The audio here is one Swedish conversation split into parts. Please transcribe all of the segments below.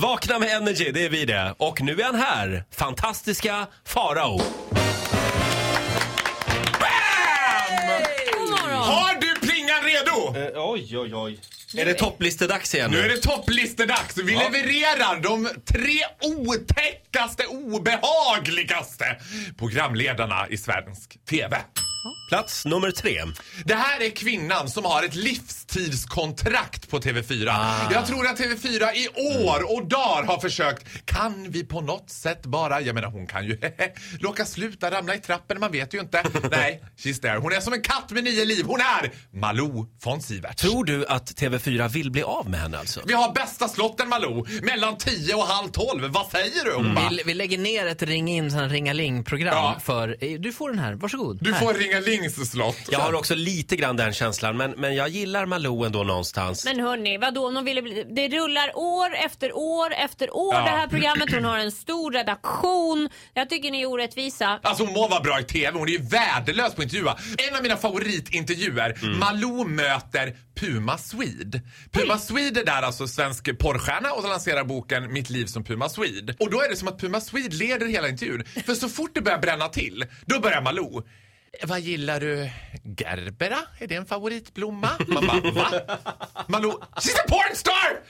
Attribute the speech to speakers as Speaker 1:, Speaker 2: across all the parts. Speaker 1: Vakna med Energy, det är vi det. Och nu är han här, fantastiska Farao.
Speaker 2: God morgon!
Speaker 3: Har du plingan redo?
Speaker 4: Oj, oj, oj.
Speaker 1: Är det topplistedags igen
Speaker 3: Nu är det topplistedags. Vi levererar de tre otäckaste, obehagligaste programledarna i svensk TV.
Speaker 1: Plats nummer tre.
Speaker 3: Det här är kvinnan som har ett livstidskontrakt på TV4. Jag tror att TV4 i år och dagar har försökt. Kan vi på något sätt bara, jag menar hon kan ju locka sluta ramla i trappen, man vet ju inte. Nej, she's there. Hon är som en katt med nio liv. Hon är Malou von Sivert.
Speaker 1: Tror du att TV4 vill bli av med henne alltså?
Speaker 3: Vi har bästa slotten Malou, mellan 10 och halv 12. Vad säger du? Hon bara,
Speaker 5: Vi, vi lägger ner ett ring in, sen ringa ling-program
Speaker 3: Ja.
Speaker 5: för... eh, Du får den här, varsågod.
Speaker 3: du
Speaker 5: här.
Speaker 3: får ringa Lings slott.
Speaker 1: Jag har också lite grann den känslan, men, men jag gillar Malou ändå någonstans.
Speaker 2: Men hörni, vadå om de ville bli... Det rullar år efter år efter år
Speaker 3: Ja.
Speaker 2: det här programmet. Hon har en stor redaktion. Jag tycker ni är orättvisa.
Speaker 3: Alltså hon må vara bra i TV, hon är ju värdelös på att intervjua. En av mina favoritintervjuer, Malou möter Puma Swede. Puma Swede är där alltså svensk porrstjärna och lanserar boken Mitt liv som Puma Swede. Och då är det som att Puma Swede leder hela intervjun. För så fort det börjar bränna till, då börjar Malou. Vad gillar du? Gerbera? Är det en favoritblomma? Man bara, va? Malou, she's a pornstar!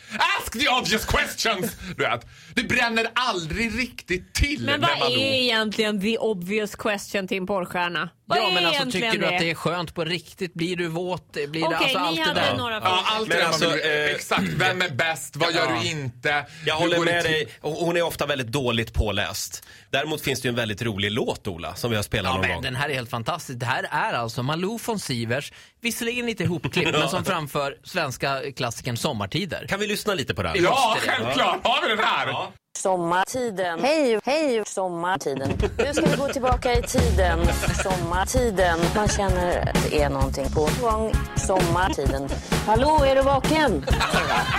Speaker 3: Ask the obvious questions! Du vet, det bränner aldrig riktigt till med
Speaker 2: Men vad är
Speaker 3: Malou.
Speaker 2: egentligen the obvious question till en porrstjärna? Vad
Speaker 5: Ja,
Speaker 2: är
Speaker 5: men alltså
Speaker 2: egentligen
Speaker 5: tycker du att det är skönt på riktigt? Blir du våt? Blir det,
Speaker 2: Okej,
Speaker 5: alltså,
Speaker 2: ni
Speaker 5: allt det
Speaker 2: hade
Speaker 5: där.
Speaker 2: några
Speaker 3: Ja,
Speaker 2: frågor.
Speaker 1: Men
Speaker 3: allt det där
Speaker 1: alltså,
Speaker 3: man vill,
Speaker 1: eh,
Speaker 3: Exakt, vem är bäst? Vad gör
Speaker 1: ja.
Speaker 3: du inte?
Speaker 1: Jag
Speaker 3: Hur
Speaker 1: håller
Speaker 3: går det
Speaker 1: med
Speaker 3: till?
Speaker 1: dig. Och Hon är ofta väldigt dåligt påläst. Däremot finns det ju en väldigt rolig låt, Ola, som vi har spelat
Speaker 5: Ja,
Speaker 1: någon gång.
Speaker 5: men den här är helt fantastisk. Det här är alltså Malou von Sivers, visserligen lite ihopklippt, men som framför svenska klassikern Sommartider.
Speaker 1: Kan vi lyssna lite på den?
Speaker 3: Ja, självklart! Har vi den här?
Speaker 6: Sommartiden. Hej, hej, sommartiden. Nu ska vi gå tillbaka i tiden. Sommartiden. Man känner att det är någonting på gång. Sommartiden. Hallå, är du vaken?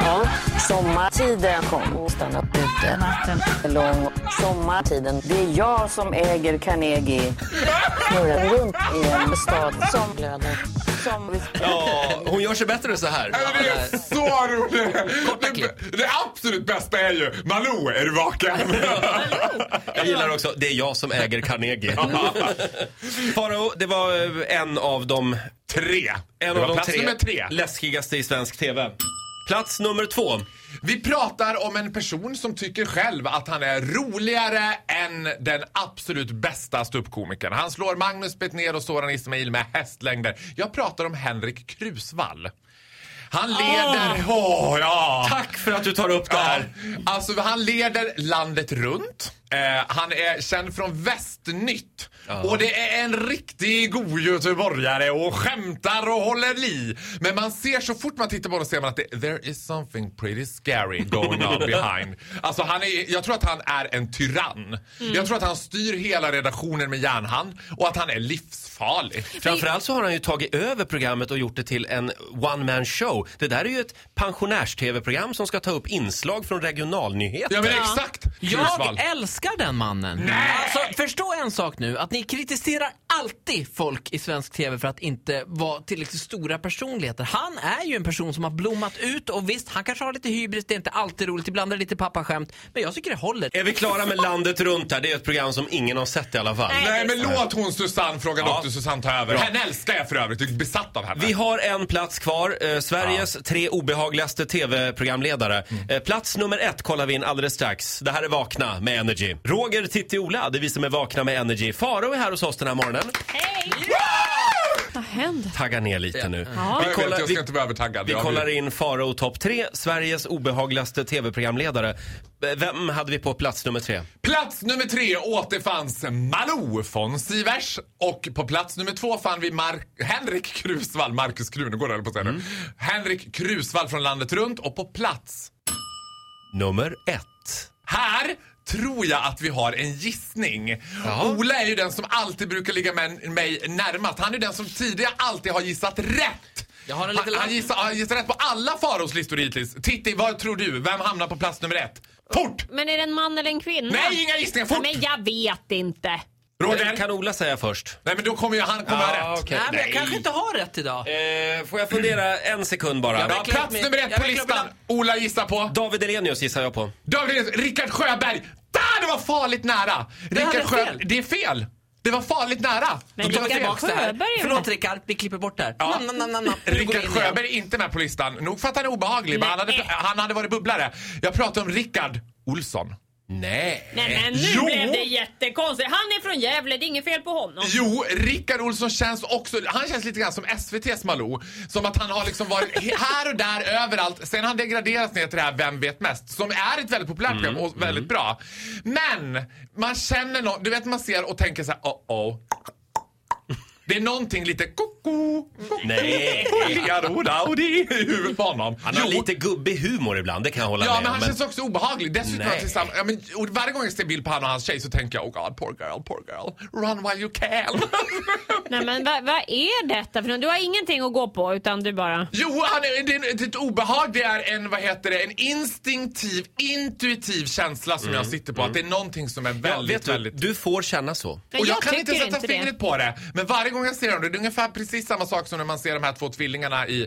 Speaker 6: Ja. Sommartiden. Kom och stanna ute. Natten är lång. Sommartiden. Det är jag som äger Carnegie. Snurrar runt i en stad som glöder. Som...
Speaker 1: Ja, hon gör sig bättre så här.
Speaker 3: Ja, Det är så roligt!
Speaker 5: klipp.
Speaker 3: Det, det absolut bästa är ju Malou, är du vaken?
Speaker 1: Jag gillar också, det är jag som äger Carnegie. Farao, det var eh, en av de,
Speaker 3: tre.
Speaker 1: en
Speaker 3: Det var
Speaker 1: av de
Speaker 3: plats
Speaker 1: tre,
Speaker 3: nummer tre.
Speaker 1: läskigaste i svensk TV. Plats nummer två.
Speaker 3: Vi pratar om en person som tycker själv att han är roligare än den absolut bästa ståuppkomikern. Han slår Magnus Betnér och Soran Ismail med hästlängder. Jag pratar om Henrik Krusvall. Han leder... Åh, ja!
Speaker 1: Tack för att du tar upp det
Speaker 3: Ja.
Speaker 1: här.
Speaker 3: Alltså han leder landet runt. Eh, han är känd från Västnytt. Och det är en riktig god göteborgare och skämtar och håller i. Men man ser så fort man tittar på honom ser man att det, there is something pretty scary going on behind. Alltså han är, jag tror att han är en tyrann. Jag tror att han styr hela redaktionen med järnhand och att han är livsfarlig.
Speaker 1: Framförallt så har han ju tagit över programmet och gjort det till en one man show. Det där är ju ett pensionärs-tv-program som ska ta upp inslag från regionalnyheter.
Speaker 3: Ja men exakt! Kursvall.
Speaker 5: Jag älskar den mannen! Alltså, förstå en sak nu, att ni kritiserar alltid folk i svensk TV för att inte vara tillräckligt stora personligheter. Han är ju en person som har blommat ut och visst, han kanske har lite hybris, det är inte alltid roligt, ibland är det lite pappaskämt, men jag tycker det håller.
Speaker 1: Är vi klara med landet runt här? Det är ett program som ingen har sett i alla fall.
Speaker 2: Nej.
Speaker 3: Nej men låt hon Susanne fråga
Speaker 1: Ja.
Speaker 3: doktor Susanne ta över.
Speaker 1: Bra.
Speaker 3: Henne älskar jag för övrigt, jag är besatt av henne.
Speaker 1: Vi har en plats kvar. Eh, Sveriges tre obehagligaste tv-programledare. Eh, plats nummer ett kollar vi in alldeles strax. Det här är Vakna med Energy. Roger, Titti, Ola, det är vi som är Vakna med Energy. Faro är här hos oss den här morgonen.
Speaker 2: Hej! Vad händer?
Speaker 1: Tagga ner lite nu.
Speaker 3: Ja,
Speaker 1: Vi
Speaker 3: jag, vet,
Speaker 1: kollar,
Speaker 3: jag ska
Speaker 1: vi,
Speaker 3: inte bli övertaggad.
Speaker 1: vi
Speaker 3: Jag
Speaker 1: kollar
Speaker 3: vill-
Speaker 1: in Faro topp tre, Sveriges obehagligaste tv-programledare. Eh, Vem hade vi på plats nummer tre?
Speaker 3: Plats nummer tre återfanns Malou von Sivers. Och på plats nummer två fann vi Mar- Henrik Krusvall, Markus Krunegård höll jag på att säga
Speaker 1: Mm.
Speaker 3: nu. Henrik Krusvall från Landet runt och på plats
Speaker 1: Nummer ett.
Speaker 3: här tror jag att vi har en gissning.
Speaker 1: Ja.
Speaker 3: Ola är ju den som alltid brukar ligga med mig närmast. Han är ju den som tidigare alltid har gissat rätt.
Speaker 5: Jag har
Speaker 3: han,
Speaker 5: en liten
Speaker 3: han,
Speaker 5: lapp.
Speaker 3: gissar, han gissar rätt på alla Faros listor hittills. Titti, vad tror du? Vem hamnar på plats nummer ett? Fort!
Speaker 2: Men är det en man eller en kvinna?
Speaker 3: Nej, inga gissningar! Fort!
Speaker 2: Men jag vet inte.
Speaker 3: Roger?
Speaker 1: Kan Ola säga först?
Speaker 3: Nej men då kommer ju han komma
Speaker 1: Ja,
Speaker 3: rätt.
Speaker 1: okej.
Speaker 5: Nej, men jag
Speaker 1: Nej.
Speaker 5: kanske inte har rätt idag.
Speaker 1: Eh, får jag fundera en sekund bara?
Speaker 5: Ja,
Speaker 3: Ja,
Speaker 5: verkligen.
Speaker 3: plats nummer ett
Speaker 5: Jag
Speaker 3: på
Speaker 5: vill glömma-
Speaker 3: listan. Ola gissar på.
Speaker 1: David Elenius gissar jag på.
Speaker 3: David Rickard Sjöberg. Där, det var farligt nära.
Speaker 5: hade
Speaker 3: Rickard
Speaker 5: fel.
Speaker 3: Sjöberg. Det är fel. Det var farligt nära.
Speaker 5: Då tar vi
Speaker 2: Rickard
Speaker 5: tillbaks det
Speaker 2: Sjöberg
Speaker 5: här.
Speaker 2: är
Speaker 5: Förlåt
Speaker 2: med.
Speaker 5: Rickard, vi klipper bort det här.
Speaker 3: Ja.
Speaker 5: Nam, nam, nam, nam, nam. Nu går vi
Speaker 3: Rickard
Speaker 5: in igen.
Speaker 3: Sjöberg är inte med på listan. Nog för att han är obehaglig, men han hade,
Speaker 2: Nej.
Speaker 3: han hade varit bubblare. Jag pratar om Rickard Olsson.
Speaker 1: Nej.
Speaker 2: Nej men nu
Speaker 3: Jo.
Speaker 2: blev det jättekonstigt. Han är från Gävle, det är inget fel på honom.
Speaker 3: Jo, Rickard Olsson känns också, han känns lite grann som SVT's Malou. Som att han har liksom varit he- här och där överallt. Sen har han degraderats ner till det här Vem vet mest? Som är ett väldigt populärt program
Speaker 1: Mm.
Speaker 3: och väldigt bra. Men man känner nå, du vet man ser och tänker så här, oh oh. Det är någonting lite koko,
Speaker 1: Nej.
Speaker 3: Leodaudi i huvudet på honom.
Speaker 1: Han har
Speaker 3: Jo,
Speaker 1: lite gubbig humor ibland, det kan jag hålla
Speaker 3: Ja,
Speaker 1: med
Speaker 3: men
Speaker 1: om,
Speaker 3: han känns också obehaglig. Dessutom är han
Speaker 1: Nej.
Speaker 3: tillsammans, ja, men, och varje gång jag ser bild på han och hans tjej så tänker jag oh god, poor girl, poor girl. Run while you can.
Speaker 2: Nej men vad vad är detta för något? Du har ingenting att gå på utan du bara...
Speaker 3: jo, han är, det är ett, ett obehag. Det är en, vad heter det, en instinktiv, intuitiv känsla som jag sitter på. Att det är någonting som är
Speaker 1: Mm, Ja,
Speaker 3: väldigt,
Speaker 1: vet du,
Speaker 3: väldigt...
Speaker 1: du får känna så.
Speaker 2: Men
Speaker 3: och jag,
Speaker 2: jag
Speaker 3: kan inte
Speaker 2: tycker
Speaker 3: sätta
Speaker 2: inte det.
Speaker 3: fingret på det. Men varje gång jag ser honom, det är ungefär precis samma sak som när man ser de här två tvillingarna i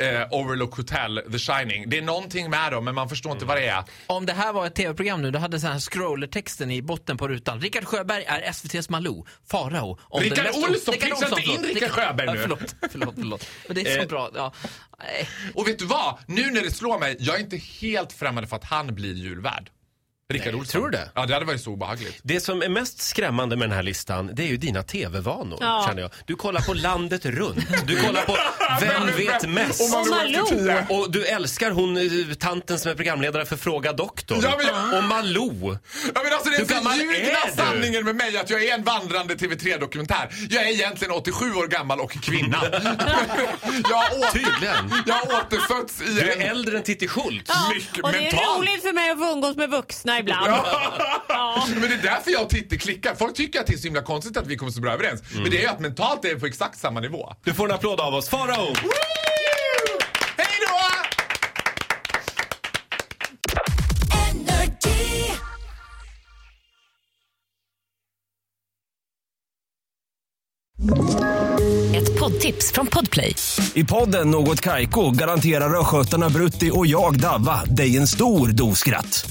Speaker 3: eh, Overlook Hotel, The Shining. Det är någonting med dem, men man förstår
Speaker 1: Mm.
Speaker 3: inte vad det är.
Speaker 5: Om det här var ett tv-program nu, då hade så här scrollertexten i botten på rutan. Rickard Sjöberg är SVT's Malou, Farao. om
Speaker 3: Rickard
Speaker 5: den mest-
Speaker 3: Olsson,
Speaker 5: Rickard
Speaker 3: pitcha inte in
Speaker 5: förlåt.
Speaker 3: Rickard Sjöberg
Speaker 5: Ja,
Speaker 3: nu. Eh.
Speaker 5: Förlåt, förlåt, förlåt. Men det är så bra. Ja. Nej.
Speaker 3: Och vet du vad? Nu när det slår mig, jag är inte helt främmande för att han blir julvärd. Rickard Olsson.
Speaker 1: tror du det?
Speaker 3: Ja, det hade varit så obehagligt.
Speaker 1: Det som är mest skrämmande med den här listan, det är ju dina tv-vanor,
Speaker 2: Ja.
Speaker 1: känner jag. Du kollar på Landet runt, du kollar på Vem vet mest?
Speaker 2: Och Malou.
Speaker 3: typ-
Speaker 1: Och du älskar hon eh, tanten som är programledare för Fråga doktorn.
Speaker 3: Ja, men jag-
Speaker 1: Och Malou.
Speaker 3: Ja, men alltså, det
Speaker 1: Hur
Speaker 3: är
Speaker 1: gammal
Speaker 3: så
Speaker 1: är
Speaker 3: ljugna
Speaker 1: du?
Speaker 3: sanningen med mig att jag är en vandrande TV3-dokumentär. Jag är egentligen 87 år gammal och kvinna. jag, har åter,
Speaker 1: Tydligen.
Speaker 3: jag har återfötts i
Speaker 1: Du är
Speaker 3: en...
Speaker 1: äldre än Titti Schultz.
Speaker 3: Mycket
Speaker 2: och det är
Speaker 3: mentalt.
Speaker 2: roligt för mig att få umgås med vuxna ibland. Ja.
Speaker 3: Men det är därför jag och Titti klickar. Folk tycker att det är så himla konstigt att vi kommer så bra överens.
Speaker 1: Mm.
Speaker 3: Men det är ju att mentalt är vi på exakt samma nivå.
Speaker 1: Du får en applåd av oss. Farao!
Speaker 3: Hej då!
Speaker 4: Ett poddtips från Podplay.
Speaker 7: I podden Något Kaiko garanterar östgötarna Brutti och jag, Davva, dig en stor dos skratt.